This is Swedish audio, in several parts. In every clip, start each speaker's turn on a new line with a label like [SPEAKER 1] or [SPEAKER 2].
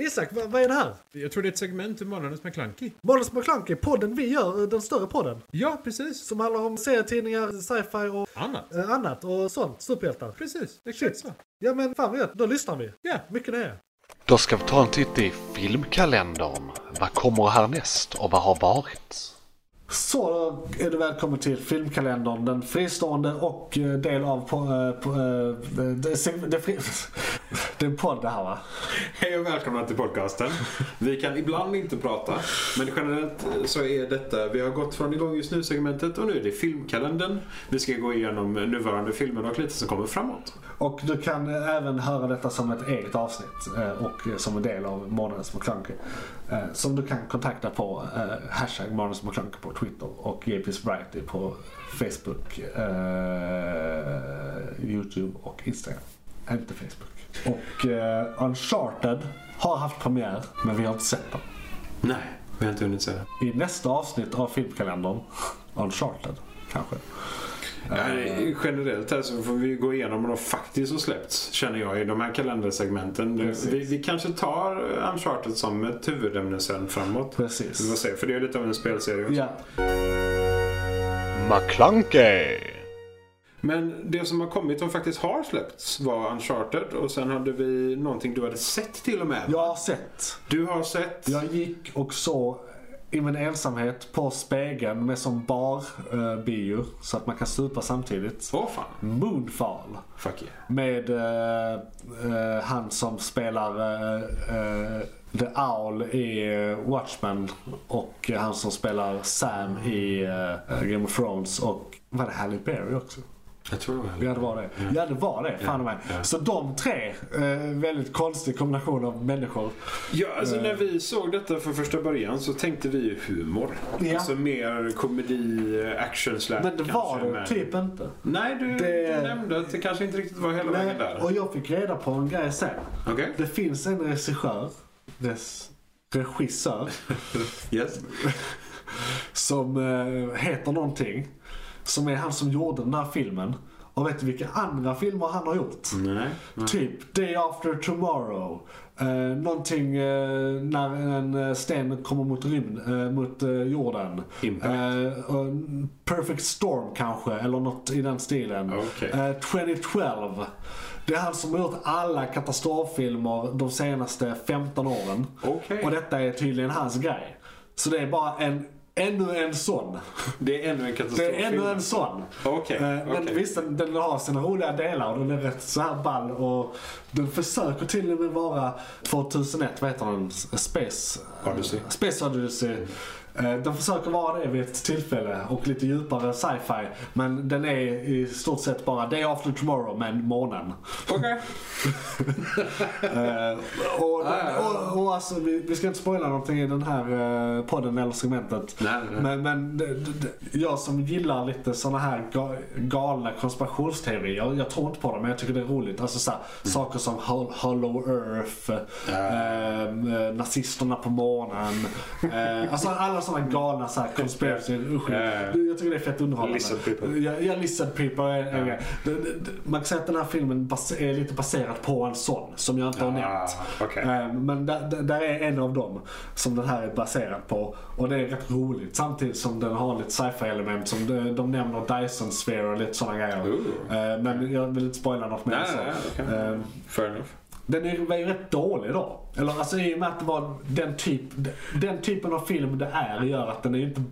[SPEAKER 1] Isak, vad, vad är det här?
[SPEAKER 2] Jag tror det är ett segment ur Månadens McKlunky.
[SPEAKER 1] Månadens McKlunky, podden vi gör, eh, den större podden.
[SPEAKER 2] Ja, precis.
[SPEAKER 1] Som handlar om serietidningar, sci-fi och
[SPEAKER 2] Annat.
[SPEAKER 1] eh, annat och sånt. Superhjältar.
[SPEAKER 2] Precis, exakt
[SPEAKER 1] Shit.
[SPEAKER 2] så.
[SPEAKER 1] Ja men fan vad gött, då lyssnar vi.
[SPEAKER 2] Ja.
[SPEAKER 1] Mycket nöje.
[SPEAKER 3] Då ska vi ta en titt i filmkalendern. Vad kommer härnäst och vad har varit?
[SPEAKER 1] Så då är du välkommen till filmkalendern. Den fristående och eh, del av po- eh, po- eh, det, seg- det, fri- det är en podd det här va?
[SPEAKER 4] Hej och välkomna till podcasten. Vi kan ibland inte prata, men generellt eh, så är detta, vi har gått från igång just nu-segmentet och nu är det filmkalendern. Vi ska gå igenom nuvarande filmer och lite som kommer framåt.
[SPEAKER 1] Och du kan eh, även höra detta som ett eget avsnitt eh, och eh, som en del av Månadens McKlunky. eh, Som du kan kontakta på eh, hashtag Månadens McKlunky på Twitter och givetvis Variety på Facebook, eh, Youtube och Instagram. Inte Facebook. Och eh, Uncharted har haft premiär men vi har inte sett den.
[SPEAKER 4] Nej, vi har inte hunnit se det.
[SPEAKER 1] I nästa avsnitt av filmkalendern, Uncharted kanske.
[SPEAKER 4] Nej, Generellt här så får vi gå igenom vad de faktiskt har släppts, känner jag, i de här kalendersegmenten. Det- Vi, vi kanske tar Uncharted som ett huvudämne sen framåt. Vi får
[SPEAKER 1] Precis.
[SPEAKER 4] se, för det är lite av en spelserie också.
[SPEAKER 1] Ja,
[SPEAKER 3] McClunkey!
[SPEAKER 4] Men det som har kommit som faktiskt har släppts var Uncharted och sen hade vi någonting du hade sett till och med.
[SPEAKER 1] jag har sett
[SPEAKER 4] Du har sett...
[SPEAKER 1] Jag gick och så i min ensamhet på spegeln med som bar-bio så att man kan supa samtidigt.
[SPEAKER 4] Åh fan.
[SPEAKER 1] Moonfall.
[SPEAKER 4] Fuck yeah.
[SPEAKER 1] Med eh, eh, han som spelar eh, eh, The Owl i eh, Watchmen och han som spelar Sam i eh, Game of Thrones och var det Halle Berry också?
[SPEAKER 4] Jag tror det var
[SPEAKER 1] Ja det var det. Ja det var det. Fan mig.
[SPEAKER 4] Ja.
[SPEAKER 1] Så de tre, eh, väldigt konstig kombination av människor.
[SPEAKER 4] Ja, alltså när vi såg detta från första början så tänkte vi ju humor.
[SPEAKER 1] Ja.
[SPEAKER 4] Alltså mer komedi, action slash
[SPEAKER 1] Men det var
[SPEAKER 4] kanske,
[SPEAKER 1] det typ inte.
[SPEAKER 4] Nej, du,
[SPEAKER 1] Det-
[SPEAKER 4] du nämnde att det kanske inte riktigt var hela vägen
[SPEAKER 1] Nej,
[SPEAKER 4] där.
[SPEAKER 1] och jag fick reda på en grej sen.
[SPEAKER 4] Okej.
[SPEAKER 1] Det finns en regissör, dess regissör,
[SPEAKER 4] Yes.
[SPEAKER 1] som eh, heter någonting. Som är han som gjorde den här filmen. Och vet du vilka andra filmer han har gjort?
[SPEAKER 4] Nej.
[SPEAKER 1] Typ Day After Tomorrow. Eh, någonting eh, när en eh, sten kommer mot rymden, eh, mot eh, jorden.
[SPEAKER 4] Impact.
[SPEAKER 1] Eh, och en Perfect Storm kanske, eller något i den stilen.
[SPEAKER 4] Okej.
[SPEAKER 1] Eh, 2012. Det är han som har gjort alla katastroffilmer de senaste 15 åren.
[SPEAKER 4] Okej.
[SPEAKER 1] Och detta är tydligen hans grej. Så det är bara en, ännu en sån.
[SPEAKER 4] Det är ännu en
[SPEAKER 1] Det
[SPEAKER 4] katastroffilm.
[SPEAKER 1] är ännu en sån.
[SPEAKER 4] Okej,
[SPEAKER 1] Eh, Men
[SPEAKER 4] okej.
[SPEAKER 1] visst, den, den har sina roliga delar och den är rätt så här ball och den försöker till och med vara 2001, vad heter den? Space
[SPEAKER 4] Odyssey.
[SPEAKER 1] eh, Space Odyssey. Eh, Den försöker vara det vid ett tillfälle och lite djupare sci-fi. Men den är i stort sett bara Day After Tomorrow men månen.
[SPEAKER 4] Okej.
[SPEAKER 1] Eh, och, och, och alltså, vi, vi ska inte spoila någonting i den här eh, podden eller segmentet.
[SPEAKER 4] Nej, nej.
[SPEAKER 1] Men, men det- det- det- jag som gillar lite såna här ga- galna konspirationsteorier. Jag, jag tror inte på dem men jag tycker det är roligt. Alltså så här,
[SPEAKER 4] Mm.
[SPEAKER 1] saker som Hol- Hollow Earth, ehm, eh, nazisterna på månen. eh, alltså alla såna galna så här conspiracy. Usch,
[SPEAKER 4] Ja.
[SPEAKER 1] Jag tycker det är fett underhållande.
[SPEAKER 4] Lizard people.
[SPEAKER 1] Ja, ja Lizard People är en grej. Det- det- det- Man kan säga att den här filmen bas- är lite baserad på en sån som jag inte har
[SPEAKER 4] Ah,
[SPEAKER 1] nämnt.
[SPEAKER 4] okej.
[SPEAKER 1] Eh, Men där, där- där är en av dem som den här är baserad på. Och det är rätt roligt samtidigt som den har lite sci-fi element. Som de, de nämner Dyson Sphere och lite sådana grejer.
[SPEAKER 4] Ooh.
[SPEAKER 1] Eh, Men jag vill inte spoila något mer.
[SPEAKER 4] Nej,
[SPEAKER 1] så.
[SPEAKER 4] nej, nej, okej.
[SPEAKER 1] Eh,
[SPEAKER 4] Fair enough.
[SPEAKER 1] den är- var ju rätt dålig då. Eller alltså i och med att det var den, typ, den typen av film det är gör att den är inte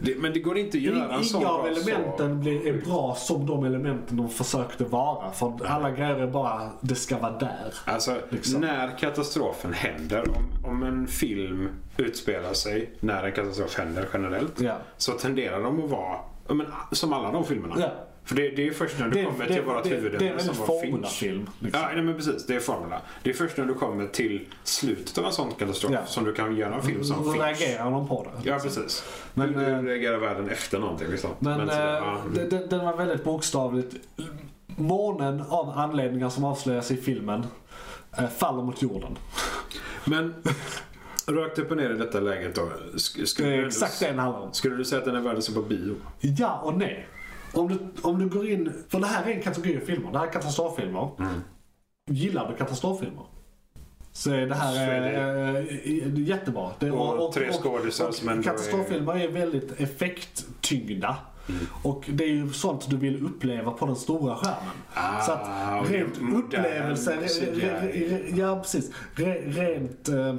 [SPEAKER 4] Det, men det går inte att göra en sån
[SPEAKER 1] Inga av
[SPEAKER 4] bra
[SPEAKER 1] elementen
[SPEAKER 4] sak.
[SPEAKER 1] blir, är bra som de elementen de försökte vara. För alla grejer är bara, det ska vara där.
[SPEAKER 4] Alltså,
[SPEAKER 1] Liksom.
[SPEAKER 4] när katastrofen händer, om, om en film utspelar sig när en katastrof händer generellt,
[SPEAKER 1] Ja.
[SPEAKER 4] så tenderar de att vara ja, men, som alla de filmerna.
[SPEAKER 1] Ja.
[SPEAKER 4] För det, det är först när du kommer till vårt
[SPEAKER 1] det, det är
[SPEAKER 4] huvudämne
[SPEAKER 1] väl
[SPEAKER 4] som
[SPEAKER 1] en
[SPEAKER 4] var Finch.
[SPEAKER 1] formulafilm. Liksom.
[SPEAKER 4] Ja, nej, men precis. Det är formula. Det är först när du kommer till slutet av en sån katastrof
[SPEAKER 1] Ja.
[SPEAKER 4] som du kan göra en film som
[SPEAKER 1] Då
[SPEAKER 4] Finch.
[SPEAKER 1] reagerar de på det.
[SPEAKER 4] Ja, precis.
[SPEAKER 1] Men,
[SPEAKER 4] Men, hur,
[SPEAKER 1] eh,
[SPEAKER 4] hur reagerar världen efter någonting? Liksom.
[SPEAKER 1] Men,
[SPEAKER 4] så- ja,
[SPEAKER 1] eh,
[SPEAKER 4] mm.
[SPEAKER 1] den, den- den var väldigt bokstavligt. Månen av anledningar som avslöjas i filmen eh, faller mot jorden.
[SPEAKER 4] men rakt upp och ner i detta läget då. Sk- skulle
[SPEAKER 1] Det
[SPEAKER 4] du
[SPEAKER 1] är
[SPEAKER 4] ändå
[SPEAKER 1] exakt det den handlar om.
[SPEAKER 4] Skulle du säga att den är värd att se på bio?
[SPEAKER 1] Ja och nej. Om du, om du går in, för
[SPEAKER 4] Mm.
[SPEAKER 1] det här är en kategori av filmer. Det här är katastroffilmer. Gillar du katastroffilmer? Så är det här
[SPEAKER 4] Så är
[SPEAKER 1] eh, eh, jättebra. Det är,
[SPEAKER 4] Och tre skådisar
[SPEAKER 1] och
[SPEAKER 4] som ändå är-
[SPEAKER 1] Katastroffilmer är väldigt effekttyngda.
[SPEAKER 4] Mm.
[SPEAKER 1] Och det är ju sånt du vill uppleva på den stora skärmen.
[SPEAKER 4] Ah,
[SPEAKER 1] så att
[SPEAKER 4] och det är
[SPEAKER 1] rent
[SPEAKER 4] modern
[SPEAKER 1] upplevelse, re, re, re, re, ja precis. Re, rent eh,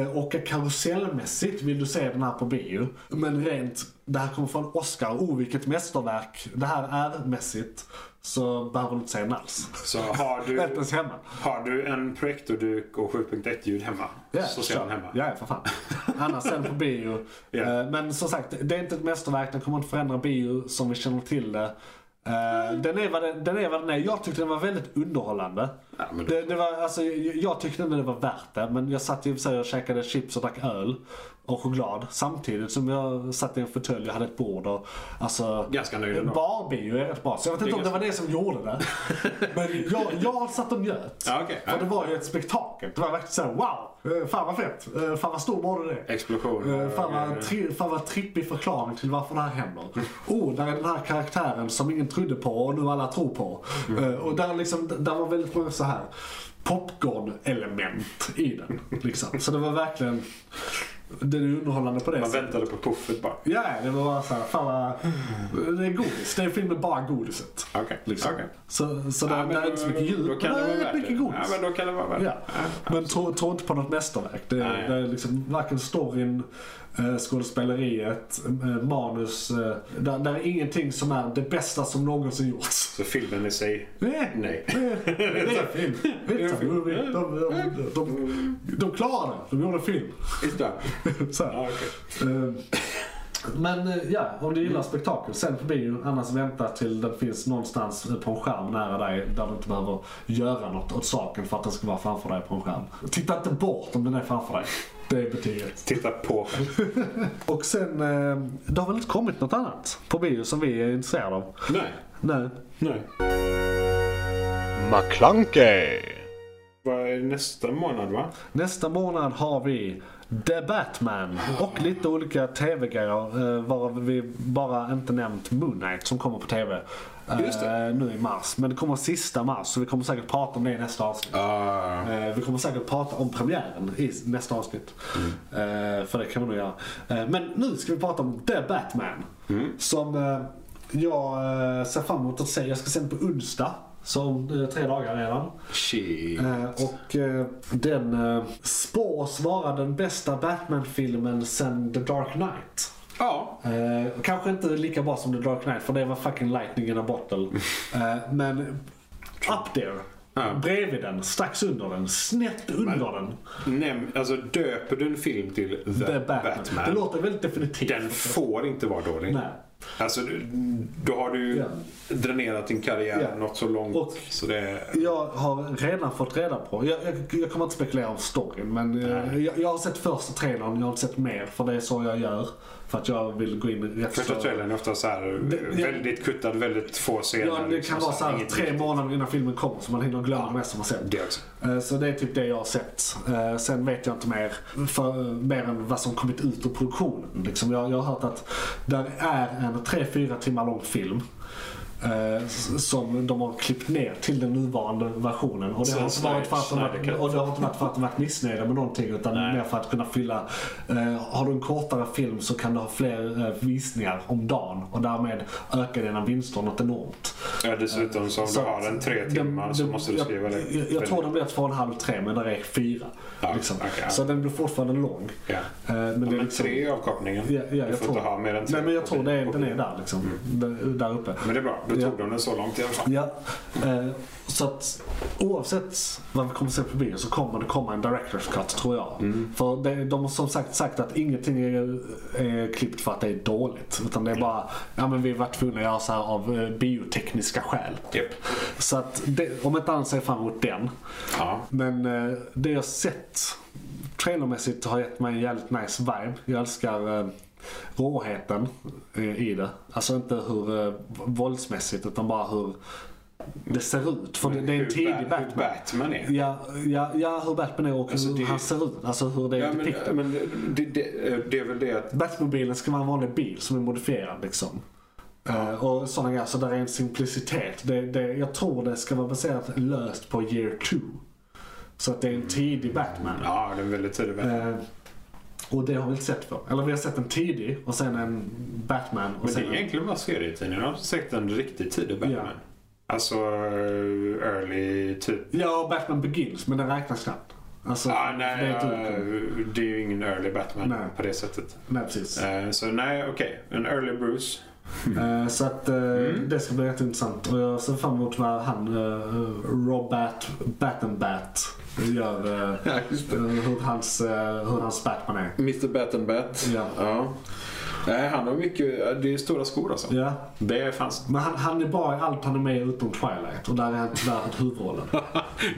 [SPEAKER 1] eh, åka karusellmässigt vill du se den här på bio. Men rent, det här kommer från Oscar, oh vilket mästerverk det här är mässigt. Så behöver du inte se den alls.
[SPEAKER 4] Så har du,
[SPEAKER 1] Inte ens hemma.
[SPEAKER 4] har du en projektorduk och 7.1-ljud hemma
[SPEAKER 1] Ja,
[SPEAKER 4] så ser
[SPEAKER 1] kör.
[SPEAKER 4] den hemma.
[SPEAKER 1] Ja, ja, för fan. Annars sen på bio.
[SPEAKER 4] Ja.
[SPEAKER 1] Eh, Men som sagt, det är inte ett mästerverk. Den kommer inte förändra bio som vi känner till det. Eh,
[SPEAKER 4] Mm.
[SPEAKER 1] Den är, vad den, den är vad den är. Jag tyckte den var väldigt underhållande.
[SPEAKER 4] Ja, men då-
[SPEAKER 1] det, det var, alltså, jag, jag tyckte inte det var värt det. Men jag satt ju och, och käkade chips och drack öl och choklad. Samtidigt som jag satt i en fåtölj och hade ett bord. Och, alltså,
[SPEAKER 4] Ganska nöjd ändå.
[SPEAKER 1] Barbio är rätt bra. Så jag vet inte
[SPEAKER 4] Det är
[SPEAKER 1] om det var det som gjorde det. Men jag, jag satt och njöt.
[SPEAKER 4] Ja, okej.
[SPEAKER 1] För det var ju ett spektakel. Det var verkligen såhär wow! eh, Fan vad fett! eh, Fan vad stor borde det är.
[SPEAKER 4] Explosion.
[SPEAKER 1] Eh, Fan vad, tri- fan vad trippig förklaring till varför det här händer. Oh, där är den här karaktären som ingen trodde på och nu alla tror på. Eh, Och där, liksom, där var väldigt många så här popcorn-element i den. Liksom. Så det var verkligen... Den är underhållande på det
[SPEAKER 4] Man
[SPEAKER 1] sättet.
[SPEAKER 4] väntade på puffet bara.
[SPEAKER 1] Ja, det var bara såhär, fan vad... Det är godis. Det är filmen bara godiset.
[SPEAKER 4] Okej. Liksom.
[SPEAKER 1] Så, så där, där är inte så mycket djup,
[SPEAKER 4] Då
[SPEAKER 1] men
[SPEAKER 4] kan det
[SPEAKER 1] där
[SPEAKER 4] vara
[SPEAKER 1] är
[SPEAKER 4] värt
[SPEAKER 1] mycket
[SPEAKER 4] det. Ja,
[SPEAKER 1] godis.
[SPEAKER 4] men då kan det vara värt
[SPEAKER 1] Ja.
[SPEAKER 4] det.
[SPEAKER 1] Men tro, tro inte på något mästerverk. Det,
[SPEAKER 4] Nej.
[SPEAKER 1] det är liksom varken storyn, eh, skådespeleriet, eh, manus. eh, Där, där är ingenting som är det bästa som någonsin gjorts.
[SPEAKER 4] Så filmen i sig,
[SPEAKER 1] Nej.
[SPEAKER 4] nej.
[SPEAKER 1] Det är film. Det är film. De, de, de, de, de klarade det. De gjorde film.
[SPEAKER 4] Just det.
[SPEAKER 1] Så här.
[SPEAKER 4] Ja, okej.
[SPEAKER 1] Eh, Men eh, ja, om du gillar spektakel, sen på bio. Annars vänta till den finns någonstans på en skärm nära dig där du inte behöver göra något åt saken för att den ska vara framför dig på en skärm. Titta inte bort om den är framför dig. Det är betyget.
[SPEAKER 4] Titta på.
[SPEAKER 1] Och sen, eh, det har väl inte kommit något annat på bio som vi är intresserade av?
[SPEAKER 4] Nej.
[SPEAKER 1] Nej.
[SPEAKER 4] nej.
[SPEAKER 3] McClunkey!
[SPEAKER 4] Vad är nästa månad va?
[SPEAKER 1] Nästa månad har vi The Batman och lite olika tv-grejer eh, varav vi bara inte nämnt Moon Knight som kommer på tv. eh,
[SPEAKER 4] Just det.
[SPEAKER 1] Nu i mars. Men det kommer sista mars så vi kommer säkert prata om det i nästa avsnitt.
[SPEAKER 4] Uh,
[SPEAKER 1] Eh, Vi kommer säkert prata om premiären i nästa avsnitt. Eh, För det kan vi nog göra. Eh, Men nu ska vi prata om The Batman.
[SPEAKER 4] Mm.
[SPEAKER 1] Som eh, jag eh, ser fram emot att se. Jag ska se den på onsdag. Så om eh, tre dagar redan.
[SPEAKER 4] shit.
[SPEAKER 1] Eh, Och eh, den eh, spås vara den bästa Batman-filmen sen The Dark Knight.
[SPEAKER 4] Ja.
[SPEAKER 1] Eh, kanske inte lika bra som The Dark Knight för det var fucking lightning in a bottle. Eh, men up there.
[SPEAKER 4] Ja.
[SPEAKER 1] Bredvid den, strax under den, snett under den.
[SPEAKER 4] Näm, alltså döper du en film till The,
[SPEAKER 1] The Batman.
[SPEAKER 4] Batman,
[SPEAKER 1] Det låter väldigt definitivt.
[SPEAKER 4] den får inte vara dålig.
[SPEAKER 1] Nej.
[SPEAKER 4] Alltså, du- då har du
[SPEAKER 1] Ja.
[SPEAKER 4] dränerat din karriär
[SPEAKER 1] Ja.
[SPEAKER 4] något så långt.
[SPEAKER 1] Och-
[SPEAKER 4] så det,
[SPEAKER 1] Jag har redan fått reda på, jag, jag, jag kommer inte spekulera om storyn men eh, jag, jag har sett första trailern, jag har inte sett mer för det är så jag gör. För att jag vill gå in rätt
[SPEAKER 4] första
[SPEAKER 1] så-
[SPEAKER 4] trailern är ofta så här
[SPEAKER 1] Det- ja.
[SPEAKER 4] väldigt kuttad, väldigt få scener.
[SPEAKER 1] Ja, det
[SPEAKER 4] liksom
[SPEAKER 1] kan vara så här,
[SPEAKER 4] inget
[SPEAKER 1] tre
[SPEAKER 4] riktigt. alltså.
[SPEAKER 1] månader innan filmen kommer så man hinner glömma det mesta man sett.
[SPEAKER 4] Det också.
[SPEAKER 1] Eh, Så det är typ det jag har sett. Eh, Sen vet jag inte mer, för, mer än vad som kommit ut ur produktionen. Liksom jag, jag har hört att där är en 3-4 timmar lång film. eh, s- Som de har klippt ner till den nuvarande versionen. Och det,
[SPEAKER 4] Så
[SPEAKER 1] har
[SPEAKER 4] en
[SPEAKER 1] inte varit för att de
[SPEAKER 4] Snyder
[SPEAKER 1] varit,
[SPEAKER 4] Cut.
[SPEAKER 1] och det har inte varit för att de varit missnöjda med någonting utan mer för att kunna fylla. Eh, har du en kortare film så kan du ha fler eh, visningar om dagen och därmed ökar dina vinster något enormt.
[SPEAKER 4] Ja, dessutom så om du
[SPEAKER 1] Så
[SPEAKER 4] har
[SPEAKER 1] att
[SPEAKER 4] en tre
[SPEAKER 1] den-
[SPEAKER 4] timmar så
[SPEAKER 1] den-
[SPEAKER 4] måste du
[SPEAKER 1] jag-
[SPEAKER 4] skriva det.
[SPEAKER 1] Jag, jag tror den blir två och en halv, tre, men där är fyra.
[SPEAKER 4] Ja,
[SPEAKER 1] liksom.
[SPEAKER 4] okej, ja.
[SPEAKER 1] Så den blir fortfarande lång.
[SPEAKER 4] Ja.
[SPEAKER 1] Eh, Men,
[SPEAKER 4] Men
[SPEAKER 1] det är liksom,
[SPEAKER 4] tre är avkapningen.
[SPEAKER 1] Ja, ja,
[SPEAKER 4] du
[SPEAKER 1] jag
[SPEAKER 4] får
[SPEAKER 1] tror,
[SPEAKER 4] inte ha mer än tre.
[SPEAKER 1] Nej, men jag
[SPEAKER 4] på
[SPEAKER 1] tror
[SPEAKER 4] bio.
[SPEAKER 1] det, den är där liksom.
[SPEAKER 4] Mm.
[SPEAKER 1] Där, där uppe.
[SPEAKER 4] Men det är bra, då tog
[SPEAKER 1] Ja.
[SPEAKER 4] de den så långt i alla fall.
[SPEAKER 1] Ja, eh, så att oavsett vad vi kommer se på bio så kommer det komma en director's cut tror jag.
[SPEAKER 4] Mm.
[SPEAKER 1] För det, de har som sagt sagt att ingenting är, är klippt för att det är dåligt. Utan det är bara, ja men vi var tvungna att göra så här av eh, biotekniska skäl.
[SPEAKER 4] Japp.
[SPEAKER 1] Så att det, om inte annat så är jag fram emot den.
[SPEAKER 4] Ja.
[SPEAKER 1] Men eh, det jag sett trailermässigt har gett mig en jävligt nice vibe. Jag älskar eh, råheten eh, i det. Alltså inte hur eh, våldsmässigt utan bara hur det ser ut. För det, det är
[SPEAKER 4] Hur
[SPEAKER 1] en tidig
[SPEAKER 4] Bat-
[SPEAKER 1] Batman.
[SPEAKER 4] Hur Batman är.
[SPEAKER 1] Ja, ja, ja, hur Batman är och
[SPEAKER 4] Alltså,
[SPEAKER 1] hur
[SPEAKER 4] det-
[SPEAKER 1] han ser ut. Alltså hur det är
[SPEAKER 4] Ja,
[SPEAKER 1] depicted.
[SPEAKER 4] men, eh, men det,
[SPEAKER 1] eh,
[SPEAKER 4] det, det är väl det att...
[SPEAKER 1] Batmobilen ska vara en vanlig bil som är modifierad liksom. Eh, och sådana grejer. Så där är en simplicitet. Det, det, jag tror det ska vara baserat löst på year two. Så att det är en tidig Batman.
[SPEAKER 4] Ja, det är väldigt tidigt.
[SPEAKER 1] Eh, och det har vi inte sett för. Eller vi har sett en tidig och sen en Batman. Och
[SPEAKER 4] Men det
[SPEAKER 1] sen
[SPEAKER 4] är
[SPEAKER 1] en...
[SPEAKER 4] egentligen bara serietidningar. De har sett en riktigt tidig Batman.
[SPEAKER 1] Ja.
[SPEAKER 4] Alltså eh, early typ.
[SPEAKER 1] Ja, och Batman Begins, men den räknas knappt. Alltså,
[SPEAKER 4] Ah,
[SPEAKER 1] det
[SPEAKER 4] nej,
[SPEAKER 1] är ett år.
[SPEAKER 4] eh, det är ju ingen early Batman
[SPEAKER 1] Nej.
[SPEAKER 4] på det sättet.
[SPEAKER 1] nej, precis.
[SPEAKER 4] Eh, Så nej, okej. En early Bruce.
[SPEAKER 1] Eh, så att eh,
[SPEAKER 4] Mm.
[SPEAKER 1] det ska bli jätteintressant. Och jag ser fram emot vad han, eh, Robert Battenbat, gör. Eh,
[SPEAKER 4] Ja, just det.
[SPEAKER 1] eh, hur, hans, eh, hur hans Batman är.
[SPEAKER 4] Mr Bat and Bat.
[SPEAKER 1] Ja.
[SPEAKER 4] ja. Nej, han har mycket. eh, Det är stora skor alltså.
[SPEAKER 1] Ja.
[SPEAKER 4] Det fanns.
[SPEAKER 1] Men han, han är bra i allt han är med i utom Twilight och där är han tyvärr huvudrollen.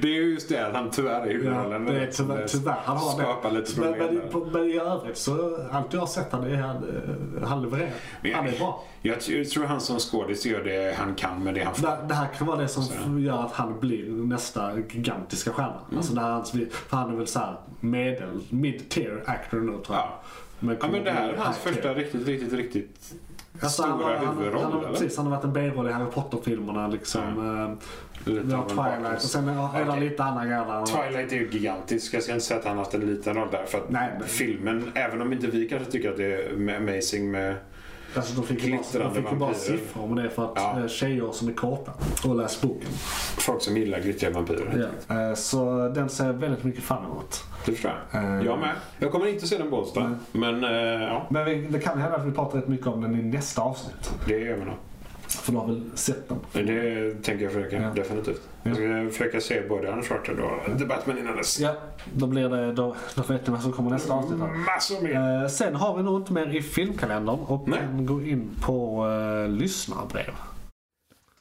[SPEAKER 4] det är ju just det att han tyvärr är
[SPEAKER 1] Ja,
[SPEAKER 4] huvudrollen.
[SPEAKER 1] det är tyvärr, tyvärr han har
[SPEAKER 4] liksom Skapar
[SPEAKER 1] det.
[SPEAKER 4] lite
[SPEAKER 1] men,
[SPEAKER 4] problem
[SPEAKER 1] men,
[SPEAKER 4] där.
[SPEAKER 1] på- men i övrigt så, allt jag har sett han är, han, eh, han levererar.
[SPEAKER 4] Men jag-
[SPEAKER 1] Han är bra.
[SPEAKER 4] Jag t- jag tror han som skådis gör det han kan med det han får.
[SPEAKER 1] Det, det här kan vara det som gör att han blir nästa gigantiska stjärna.
[SPEAKER 4] Mm.
[SPEAKER 1] Alltså det här, hans- för han är väl såhär medel, mid-tier actor nu tror jag.
[SPEAKER 4] Ja. Ja,
[SPEAKER 1] kommer
[SPEAKER 4] men det här är
[SPEAKER 1] bli
[SPEAKER 4] hans
[SPEAKER 1] high-tier.
[SPEAKER 4] första riktigt, riktigt, riktigt
[SPEAKER 1] Alltså, han,
[SPEAKER 4] stora
[SPEAKER 1] har- han,
[SPEAKER 4] huvudroll.
[SPEAKER 1] han, har-
[SPEAKER 4] eller?
[SPEAKER 1] Precis, han har varit en B-roll i Harry Potter-filmerna liksom. eh,
[SPEAKER 4] Lite
[SPEAKER 1] Vi har
[SPEAKER 4] av en
[SPEAKER 1] Twilight och
[SPEAKER 4] bakgrunds-
[SPEAKER 1] sen är är det
[SPEAKER 4] liksom. Okej.
[SPEAKER 1] lite andra grejer. där han har-
[SPEAKER 4] Twilight är ju gigantisk. Jag ska inte säga att han har haft en liten roll där. För att
[SPEAKER 1] Nej, men-
[SPEAKER 4] filmen, även om inte vi kanske tycker att det är amazing med...
[SPEAKER 1] Alltså de fick ju bara, de
[SPEAKER 4] Glittrande
[SPEAKER 1] fick ju bara
[SPEAKER 4] vampyrer.
[SPEAKER 1] siffror men det är för att
[SPEAKER 4] Ja.
[SPEAKER 1] eh, tjejer som är korta och läst boken.
[SPEAKER 4] Folk som gillar glittriga vampyrer.
[SPEAKER 1] Eh, Så den ser jag väldigt mycket fram emot.
[SPEAKER 4] Det förstår jag.
[SPEAKER 1] Eh.
[SPEAKER 4] Jag med. Jag kommer inte se den på onsdag. Men eh, ja,
[SPEAKER 1] Men vi, det kan hända att vi pratar rätt mycket om den i nästa avsnitt.
[SPEAKER 4] det gör vi nog.
[SPEAKER 1] För du har väl sett den?
[SPEAKER 4] Det tänker jag försöka.
[SPEAKER 1] Ja.
[SPEAKER 4] Definitivt.
[SPEAKER 1] Ja.
[SPEAKER 4] Jag ska försöka se både Uncharted och The Batman innan dess.
[SPEAKER 1] Ja, då blir det, då, då vet ni vad som kommer nästa avsnitt. här.
[SPEAKER 4] Massor mer.
[SPEAKER 1] Eh, sen har vi nog inte mer i filmkalendern och
[SPEAKER 4] Nej.
[SPEAKER 1] kan gå in på eh, lyssnarbrev.